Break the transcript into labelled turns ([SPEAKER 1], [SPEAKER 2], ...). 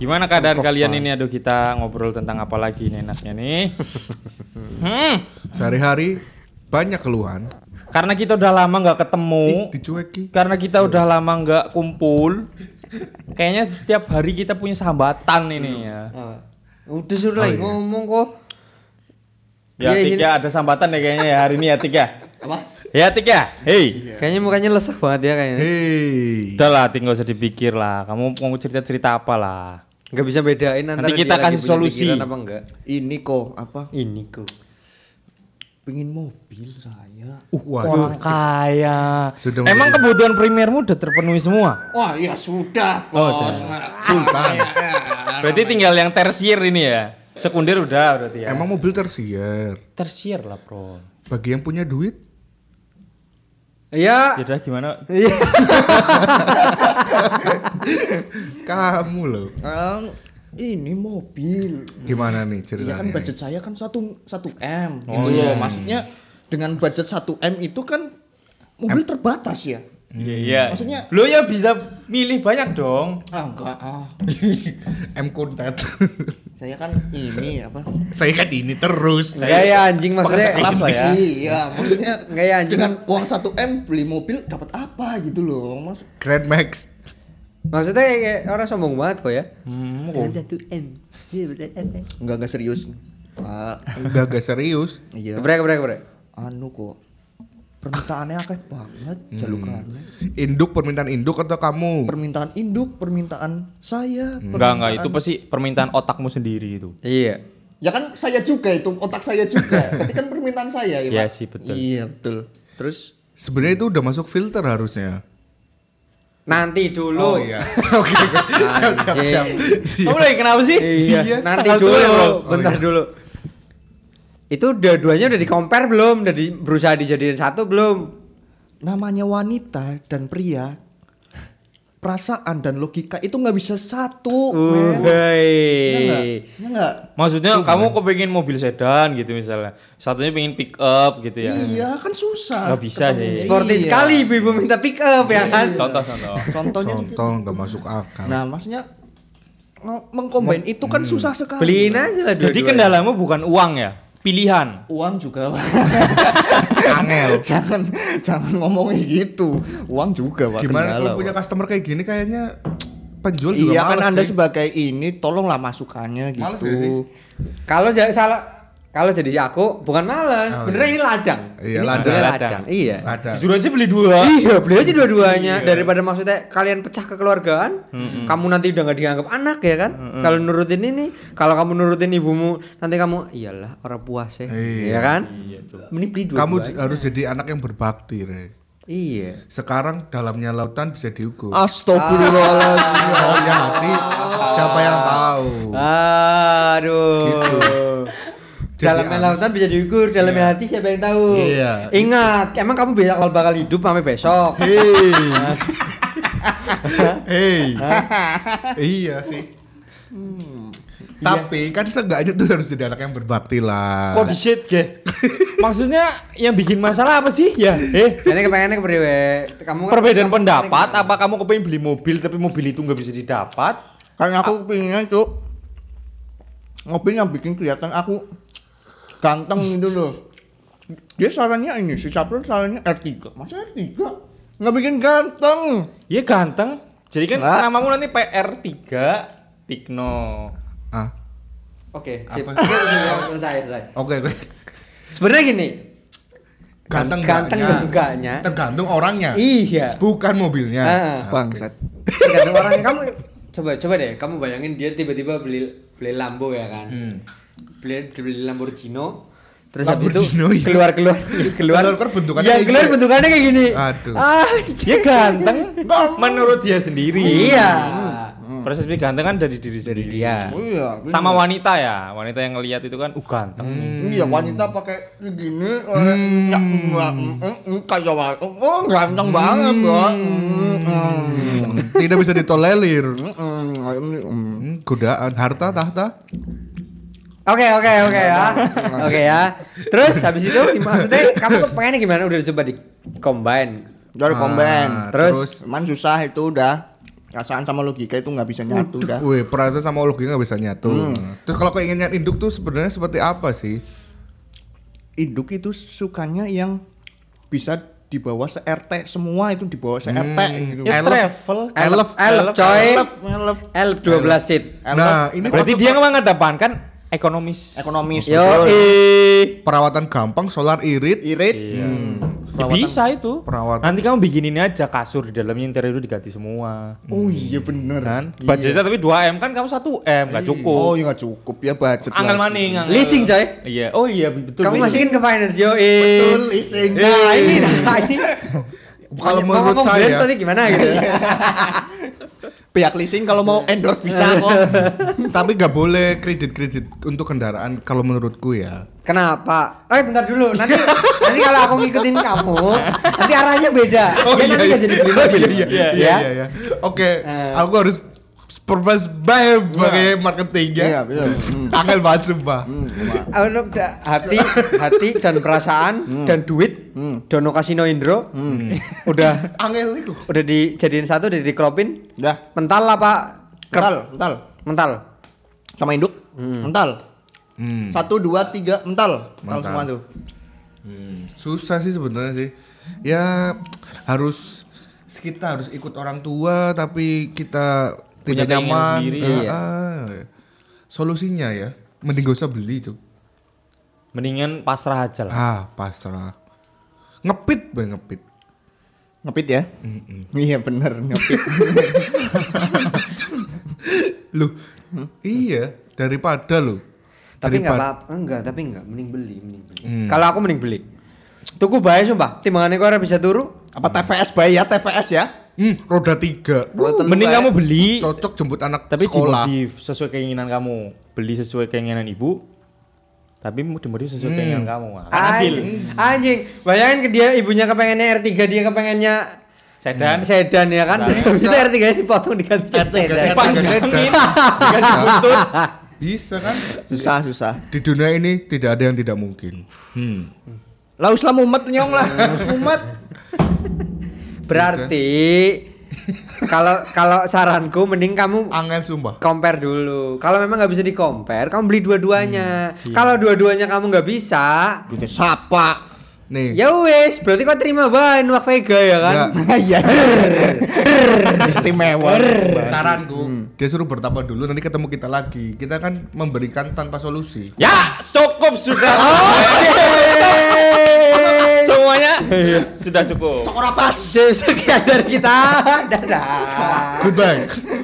[SPEAKER 1] Gimana keadaan kalian ini? Aduh kita ngobrol tentang apa lagi nih enaknya nih. hmm.
[SPEAKER 2] Sehari-hari banyak keluhan.
[SPEAKER 1] Karena kita udah lama nggak
[SPEAKER 2] Ih,
[SPEAKER 1] ketemu,
[SPEAKER 2] dicueki.
[SPEAKER 1] karena kita udah lama nggak kumpul. Kayaknya setiap hari kita punya sambatan ini ya.
[SPEAKER 3] Apa? Udah
[SPEAKER 1] Oh,
[SPEAKER 3] suruh
[SPEAKER 1] iya.
[SPEAKER 3] lagi ngomong kok.
[SPEAKER 1] Ya
[SPEAKER 3] Iya,
[SPEAKER 1] tiga
[SPEAKER 3] iya.
[SPEAKER 1] ada sambatan ya kayaknya ya hari ini ya tiga.
[SPEAKER 3] Apa?
[SPEAKER 1] Ya tiga. Hei.
[SPEAKER 3] Kayaknya mukanya lesah banget ya kayaknya.
[SPEAKER 1] Iya.
[SPEAKER 2] Hei.
[SPEAKER 1] Udah lah, tinggal usah dipikir lah. Kamu mau cerita-cerita apa lah?
[SPEAKER 3] Nggak bisa bedain antara
[SPEAKER 1] Nanti kita
[SPEAKER 3] dia lagi
[SPEAKER 1] kasih
[SPEAKER 3] punya
[SPEAKER 1] solusi.
[SPEAKER 3] pikiran apa enggak.
[SPEAKER 4] Ini kok apa?
[SPEAKER 3] Ini kok.
[SPEAKER 4] Pengen mobil
[SPEAKER 3] Iya.
[SPEAKER 4] saya.
[SPEAKER 1] Uh,
[SPEAKER 2] Waduh.
[SPEAKER 1] orang kaya.
[SPEAKER 2] Sudah
[SPEAKER 1] Emang
[SPEAKER 2] mulai-
[SPEAKER 1] kebutuhan primermu udah terpenuhi semua?
[SPEAKER 4] Wah, ya sudah,
[SPEAKER 1] Oh, udah.
[SPEAKER 4] Bos. Nah,
[SPEAKER 2] Sultan.
[SPEAKER 1] Nah, Berarti tinggal yang tersier ini ya. Sekunder udah berarti ya.
[SPEAKER 2] Emang mobil tersier.
[SPEAKER 1] tersier lah, Bro.
[SPEAKER 2] Bagi yang punya duit,
[SPEAKER 3] Ya.
[SPEAKER 1] Ya udah gimana?
[SPEAKER 3] Iya.
[SPEAKER 2] kamu loh.
[SPEAKER 4] em, ini mobil.
[SPEAKER 2] Gimana nih
[SPEAKER 4] Iya
[SPEAKER 2] ceritanya?
[SPEAKER 4] kan budget saya kan satu satu m gitu loh. Maksudnya dengan budget 1 m itu kan mobil terbatas ya.
[SPEAKER 2] Hmm.
[SPEAKER 1] Iya, iya.
[SPEAKER 4] Maksudnya-
[SPEAKER 1] lo ya bisa milih banyak dong.
[SPEAKER 4] Ah enggak ah.
[SPEAKER 2] M konten.
[SPEAKER 4] Saya kan ini apa?
[SPEAKER 2] Saya kan ini terus.
[SPEAKER 1] Iya,
[SPEAKER 3] Enggak ya anjing maksudnya.
[SPEAKER 1] Kelas lah ya.
[SPEAKER 4] Iya, maksudnya
[SPEAKER 3] Enggak ya anjing.
[SPEAKER 4] dengan uang 1 m beli mobil dapat apa gitu loh. Mas
[SPEAKER 2] Grand Max.
[SPEAKER 3] Maksudnya kayak orang sombong banget kok ya.
[SPEAKER 4] Iya.
[SPEAKER 1] Hmm,
[SPEAKER 3] Satu M. Iya,
[SPEAKER 4] enggak enggak serius. Pak.
[SPEAKER 2] Enggak gak serius.
[SPEAKER 4] iya.
[SPEAKER 3] Kebrek kebrek kebrek.
[SPEAKER 4] Anu kok permintaannya akeh banget jalukannya.
[SPEAKER 2] Induk permintaan induk atau kamu?
[SPEAKER 4] Permintaan induk, permintaan saya.
[SPEAKER 3] Hmm.
[SPEAKER 1] enggak enggak itu
[SPEAKER 4] permintaan-
[SPEAKER 1] pasti permintaan otakmu sendiri itu.
[SPEAKER 3] Iya.
[SPEAKER 4] Ya kan saya juga itu, otak saya juga. Berarti kan permintaan saya ya,
[SPEAKER 1] Iya
[SPEAKER 4] Pak?
[SPEAKER 1] sih, betul.
[SPEAKER 4] Iya, betul. Terus
[SPEAKER 2] Sebenarnya itu udah masuk filter harusnya. Oh, iya.
[SPEAKER 3] Nanti
[SPEAKER 4] Oh,
[SPEAKER 3] dulu.
[SPEAKER 4] iya.
[SPEAKER 2] Oke. oke. Siap, siap, siap.
[SPEAKER 1] Kamu lagi kenapa sih?
[SPEAKER 2] Iya.
[SPEAKER 3] Iya. Nanti
[SPEAKER 1] Tanggal
[SPEAKER 3] dulu,
[SPEAKER 1] dulu ya, Bro.
[SPEAKER 4] Oh,
[SPEAKER 3] bentar
[SPEAKER 4] iya.
[SPEAKER 3] dulu. Itu dua-duanya udah di compare belum? Udah di, berusaha dijadiin satu belum?
[SPEAKER 4] namanya wanita dan pria perasaan dan logika itu nggak bisa
[SPEAKER 3] Uh,
[SPEAKER 4] satu. men. Oh, Iya nggak?
[SPEAKER 3] hei.
[SPEAKER 4] Iya nggak?
[SPEAKER 1] Maksudnya kamu kepengen mobil sedan gitu misalnya. Satunya pengen pick up gitu ya.
[SPEAKER 4] Iya, kan susah.
[SPEAKER 1] Nggak bisa
[SPEAKER 4] ketemunya.
[SPEAKER 1] sih.
[SPEAKER 3] Sporty
[SPEAKER 4] Iya.
[SPEAKER 3] sekali ibu-ibu minta pick up ya
[SPEAKER 1] Iya.
[SPEAKER 3] kan?
[SPEAKER 1] Contoh contoh.
[SPEAKER 4] Contohnya
[SPEAKER 2] Contoh nggak masuk akal.
[SPEAKER 4] Nah, maksudnya nge- mengkombin itu kan susah sekali.
[SPEAKER 3] hmm. Beliin aja lah
[SPEAKER 1] Jadi
[SPEAKER 3] dua-duanya.
[SPEAKER 1] kendalamu bukan uang ya, pilihan.
[SPEAKER 4] uang juga Pak.
[SPEAKER 2] Angel.
[SPEAKER 4] jangan jangan ngomongin gitu uang juga pak
[SPEAKER 2] Gimana
[SPEAKER 4] kendala,
[SPEAKER 2] kalau punya
[SPEAKER 4] Pak.
[SPEAKER 2] customer kayak gini kayaknya penjual juga
[SPEAKER 4] iya kan
[SPEAKER 2] males
[SPEAKER 4] anda
[SPEAKER 2] sih.
[SPEAKER 4] sebagai ini tolonglah masukannya gitu
[SPEAKER 2] Males ya sih?
[SPEAKER 3] Kalau jadi salah kalau jadi aku bukan males,
[SPEAKER 2] Oh,
[SPEAKER 3] sebenarnya
[SPEAKER 2] iya.
[SPEAKER 3] ini ladang.
[SPEAKER 2] Iya,
[SPEAKER 3] ini
[SPEAKER 2] ladang.
[SPEAKER 3] sebenarnya
[SPEAKER 1] Ladang.
[SPEAKER 3] ladang. Iya.
[SPEAKER 2] ada.
[SPEAKER 1] Disuruh aja beli dua.
[SPEAKER 3] Iya, beli aja dua-duanya
[SPEAKER 2] Iya.
[SPEAKER 3] daripada maksudnya kalian pecah kekeluargaan, kamu nanti udah nggak dianggap anak ya kan? Kalau nurutin ini, kalau kamu nurutin ibumu, nanti kamu iyalah orang puas ya,
[SPEAKER 2] Iya.
[SPEAKER 3] ya kan? Mending beli dua.
[SPEAKER 2] Kamu j- harus jadi anak yang berbakti, Re.
[SPEAKER 3] iya.
[SPEAKER 2] Sekarang dalamnya lautan bisa diukur.
[SPEAKER 4] astagfirullahaladzim
[SPEAKER 2] Maunya mati, siapa yang tahu?
[SPEAKER 3] Aduh.
[SPEAKER 2] Gitu. Jadi
[SPEAKER 3] Dalamnya
[SPEAKER 2] an-
[SPEAKER 3] lautan bisa diukur, dalamnya hati siapa yang tahu.
[SPEAKER 2] Iya.
[SPEAKER 3] Ingat, emang kamu bakal bakal hidup sampai besok.
[SPEAKER 2] Hei. Hei. Iya sih. Tapi kan seenggaknya tuh harus jadi anak yang berbakti lah.
[SPEAKER 1] Kok di shit ge? Maksudnya yang bikin masalah apa sih? Ya, eh
[SPEAKER 3] Jadi kepengennya ke priwe. Kamu kan-
[SPEAKER 1] perbedaan
[SPEAKER 3] kamu-
[SPEAKER 1] pendapat apa kamu kepengen beli mobil tapi mobil itu nggak bisa didapat?
[SPEAKER 4] karena Kan aku pinginnya itu ngopi yang bikin kelihatan aku ganteng gitu loh dia sarannya ini si Capril sarannya R3 masa R3 nggak bikin ganteng
[SPEAKER 1] Ya ganteng. Jadi kan
[SPEAKER 4] Nggak.
[SPEAKER 1] namamu nanti PR3 Tikno.
[SPEAKER 2] Ah,
[SPEAKER 3] Oke, sip.
[SPEAKER 2] Apa?
[SPEAKER 3] Selesai, selesai.
[SPEAKER 2] oke oke.
[SPEAKER 3] Sebenarnya gini.
[SPEAKER 2] Ganteng
[SPEAKER 3] ganteng
[SPEAKER 2] enggaknya.
[SPEAKER 3] enggaknya.
[SPEAKER 2] Tergantung orangnya.
[SPEAKER 3] Iya.
[SPEAKER 2] Bukan mobilnya. Ah.
[SPEAKER 3] Heeh.
[SPEAKER 2] Oke.
[SPEAKER 4] bangsat
[SPEAKER 3] Tergantung orangnya kamu coba coba deh, kamu bayangin dia tiba-tiba beli beli Lambo ya kan.
[SPEAKER 2] Hmm.
[SPEAKER 3] Beli beli Lamborghini. Terus
[SPEAKER 2] Lamborghini,
[SPEAKER 3] habis
[SPEAKER 2] iya.
[SPEAKER 3] itu keluar keluar keluar
[SPEAKER 2] Keluar-keluar bentukannya
[SPEAKER 3] yang
[SPEAKER 2] kayak
[SPEAKER 3] keluar
[SPEAKER 2] gini.
[SPEAKER 3] bentukannya kayak gini.
[SPEAKER 2] Aduh. Iya kan?
[SPEAKER 3] Ah,
[SPEAKER 1] Dia Iya, ganteng menurut dia sendiri.
[SPEAKER 3] iya.
[SPEAKER 2] Hmm.
[SPEAKER 1] Proses pikir ganteng kan dari diri sendiri.
[SPEAKER 3] dia.
[SPEAKER 4] oh iya bener.
[SPEAKER 1] Sama wanita ya, wanita yang ngelihat itu kan uh ganteng. nih.
[SPEAKER 4] Iya wanita pakai gini eh, ya, oleh nyak, nyak, mm, mm, kayak waktu oh ganteng banget bos. Mm, mm,
[SPEAKER 2] Tidak bisa ditolerir.
[SPEAKER 4] mm, mm, mm.
[SPEAKER 2] Hmm, godaan harta tahta
[SPEAKER 3] Oke oke oke ya. Oke ya. Terus habis itu maksudnya kamu pengennya gimana udah coba di combine.
[SPEAKER 4] Dari komben.
[SPEAKER 2] Ah,
[SPEAKER 3] Terus?
[SPEAKER 2] terus,
[SPEAKER 4] Cuman susah itu udah. Perasaan sama logika itu nggak bisa nyatu kan.
[SPEAKER 2] Wih, perasaan sama logi nggak bisa nyatu. Terus kalau keinginan induk tuh sebenarnya seperti apa sih?
[SPEAKER 4] Induk itu sukanya yang bisa dibawa se-RT semua itu dibawa se-RT gitu.
[SPEAKER 1] Ya travel.
[SPEAKER 3] Elf, elf, coy. Elf 12 seat.
[SPEAKER 2] Nah, ini
[SPEAKER 1] Berarti
[SPEAKER 2] patut-
[SPEAKER 1] dia mengedepankan ekonomis.
[SPEAKER 4] Ekonomis.
[SPEAKER 3] Yo,
[SPEAKER 4] betul.
[SPEAKER 2] perawatan gampang, solar irit.
[SPEAKER 4] irit.
[SPEAKER 1] Ya, bisa itu.
[SPEAKER 2] Perawatan.
[SPEAKER 1] Nanti kamu bikinin aja kasur di dalamnya interior itu diganti semua.
[SPEAKER 4] Oh iya bener.
[SPEAKER 1] Kan?
[SPEAKER 4] Iya.
[SPEAKER 1] Budgetnya tapi 2 M kan kamu 1 M enggak
[SPEAKER 4] Oh
[SPEAKER 1] cukup.
[SPEAKER 4] iya nggak cukup ya budget.
[SPEAKER 1] Angel
[SPEAKER 4] lagi.
[SPEAKER 1] maning. angel.
[SPEAKER 3] Leasing, coy.
[SPEAKER 1] Iya. Oh iya betul.
[SPEAKER 3] Kamu
[SPEAKER 1] leasing.
[SPEAKER 3] masukin ke finance, yo.
[SPEAKER 4] Betul leasing.
[SPEAKER 3] Nah, ini nah, ini.
[SPEAKER 2] Kalau
[SPEAKER 3] Mau
[SPEAKER 2] menurut
[SPEAKER 3] ngomong brand
[SPEAKER 2] saya,
[SPEAKER 3] tapi gimana gitu.
[SPEAKER 4] Pihak leasing kalau mau endorse bisa kok.
[SPEAKER 2] tapi nggak boleh kredit-kredit untuk kendaraan kalau menurutku ya.
[SPEAKER 3] Kenapa? Eh bentar dulu. Nanti nanti kalau aku ngikutin kamu, nanti arahnya beda. ya nanti gak jadi beli mobil.
[SPEAKER 2] Oh, iya, iya, iya,
[SPEAKER 3] Ya?
[SPEAKER 2] iya, iya. Oke,
[SPEAKER 3] Eh.
[SPEAKER 2] aku harus supervise by pakai marketing ya.
[SPEAKER 4] Iya, betul.
[SPEAKER 2] Angel banget sumpah.
[SPEAKER 3] Ono da- hati, hati dan perasaan dan duit. Dono Kasino Indro. Udah
[SPEAKER 2] Angel itu.
[SPEAKER 3] udah dijadiin satu, udah dikelopin.
[SPEAKER 4] Udah.
[SPEAKER 3] Mental apa?
[SPEAKER 4] Mental,
[SPEAKER 3] Kerap?
[SPEAKER 4] mental.
[SPEAKER 3] Mental.
[SPEAKER 4] Sama induk. Mental.
[SPEAKER 2] Hmm.
[SPEAKER 4] Satu, dua, tiga, mental. Mental
[SPEAKER 2] Mental.
[SPEAKER 4] semua tuh.
[SPEAKER 2] Susah sih sebenarnya sih. Ya harus kita harus ikut orang tua tapi kita
[SPEAKER 1] Punya
[SPEAKER 2] tidak
[SPEAKER 1] keinginan
[SPEAKER 2] nyaman.
[SPEAKER 1] sendiri, ya.
[SPEAKER 2] Ah,
[SPEAKER 3] iya.
[SPEAKER 2] ah. Solusinya ya, mending gak usah beli tuh.
[SPEAKER 1] Mendingan pasrah aja lah.
[SPEAKER 2] Ah, pasrah. Ngepit, Bang, ngepit.
[SPEAKER 4] Ngepit ya? Iya bener ngepit.
[SPEAKER 2] Loh,
[SPEAKER 1] Hmm?
[SPEAKER 2] iya, daripada lo.
[SPEAKER 3] Tapi nggak
[SPEAKER 2] Daripada-
[SPEAKER 3] apa enggak, tapi enggak mending beli, mending beli.
[SPEAKER 2] Hmm.
[SPEAKER 3] Kalau aku mending beli. Tuku bae sumpah, timbangannya kok ora bisa turu.
[SPEAKER 4] Apa TVS bayi ya? TVS ya?
[SPEAKER 2] Hmm, roda tiga.
[SPEAKER 4] Roda telu
[SPEAKER 1] Mending
[SPEAKER 4] bayi.
[SPEAKER 1] kamu beli
[SPEAKER 2] Cocok jemput anak
[SPEAKER 1] tapi
[SPEAKER 2] sekolah.
[SPEAKER 1] dimodif sesuai keinginan kamu. Beli sesuai keinginan ibu. Tapi mau dimodif
[SPEAKER 2] Hmm.
[SPEAKER 1] sesuai keinginan kamu. Ah, Adil.
[SPEAKER 3] Anjing, anjing. Bayangin ke dia ibunya kepengennya R3, dia kepengennya
[SPEAKER 1] Sedan.
[SPEAKER 2] Hmm.
[SPEAKER 3] sedan ya kan. Terus habis itu R3 nya dipotong diganti
[SPEAKER 4] R3,
[SPEAKER 3] sedan.
[SPEAKER 4] R3.
[SPEAKER 1] Panjangin.
[SPEAKER 2] Sedan.
[SPEAKER 1] Dikasih buntut.
[SPEAKER 2] Bisa kan?
[SPEAKER 4] Susah, susah.
[SPEAKER 2] Di dunia ini tidak ada yang tidak mungkin. Hmm.
[SPEAKER 4] Lah uslah mumet nyong lah. Harus mumet.
[SPEAKER 3] Berarti kalau kalau saranku mending kamu
[SPEAKER 2] Angel sumpah.
[SPEAKER 3] compare dulu. Kalau memang nggak bisa di compare, kamu beli dua-duanya. Kalau dua-duanya kamu nggak bisa,
[SPEAKER 4] Hmm, iya. Duitnya siapa?
[SPEAKER 2] Nih.
[SPEAKER 3] ya wes. Berarti kau terima bahan Wak Vega ya kan.
[SPEAKER 2] Enggak.
[SPEAKER 4] Iya. Istimewa.
[SPEAKER 2] Saranku, Hmm. dia suruh bertambah dulu nanti ketemu kita lagi. Kita kan memberikan tanpa solusi.
[SPEAKER 1] Ya, cukup sudah.
[SPEAKER 2] Oh, iya.
[SPEAKER 1] Semuanya sudah cukup.
[SPEAKER 4] Orang pas.
[SPEAKER 3] Sekian dari kita. Dadah.
[SPEAKER 2] Goodbye.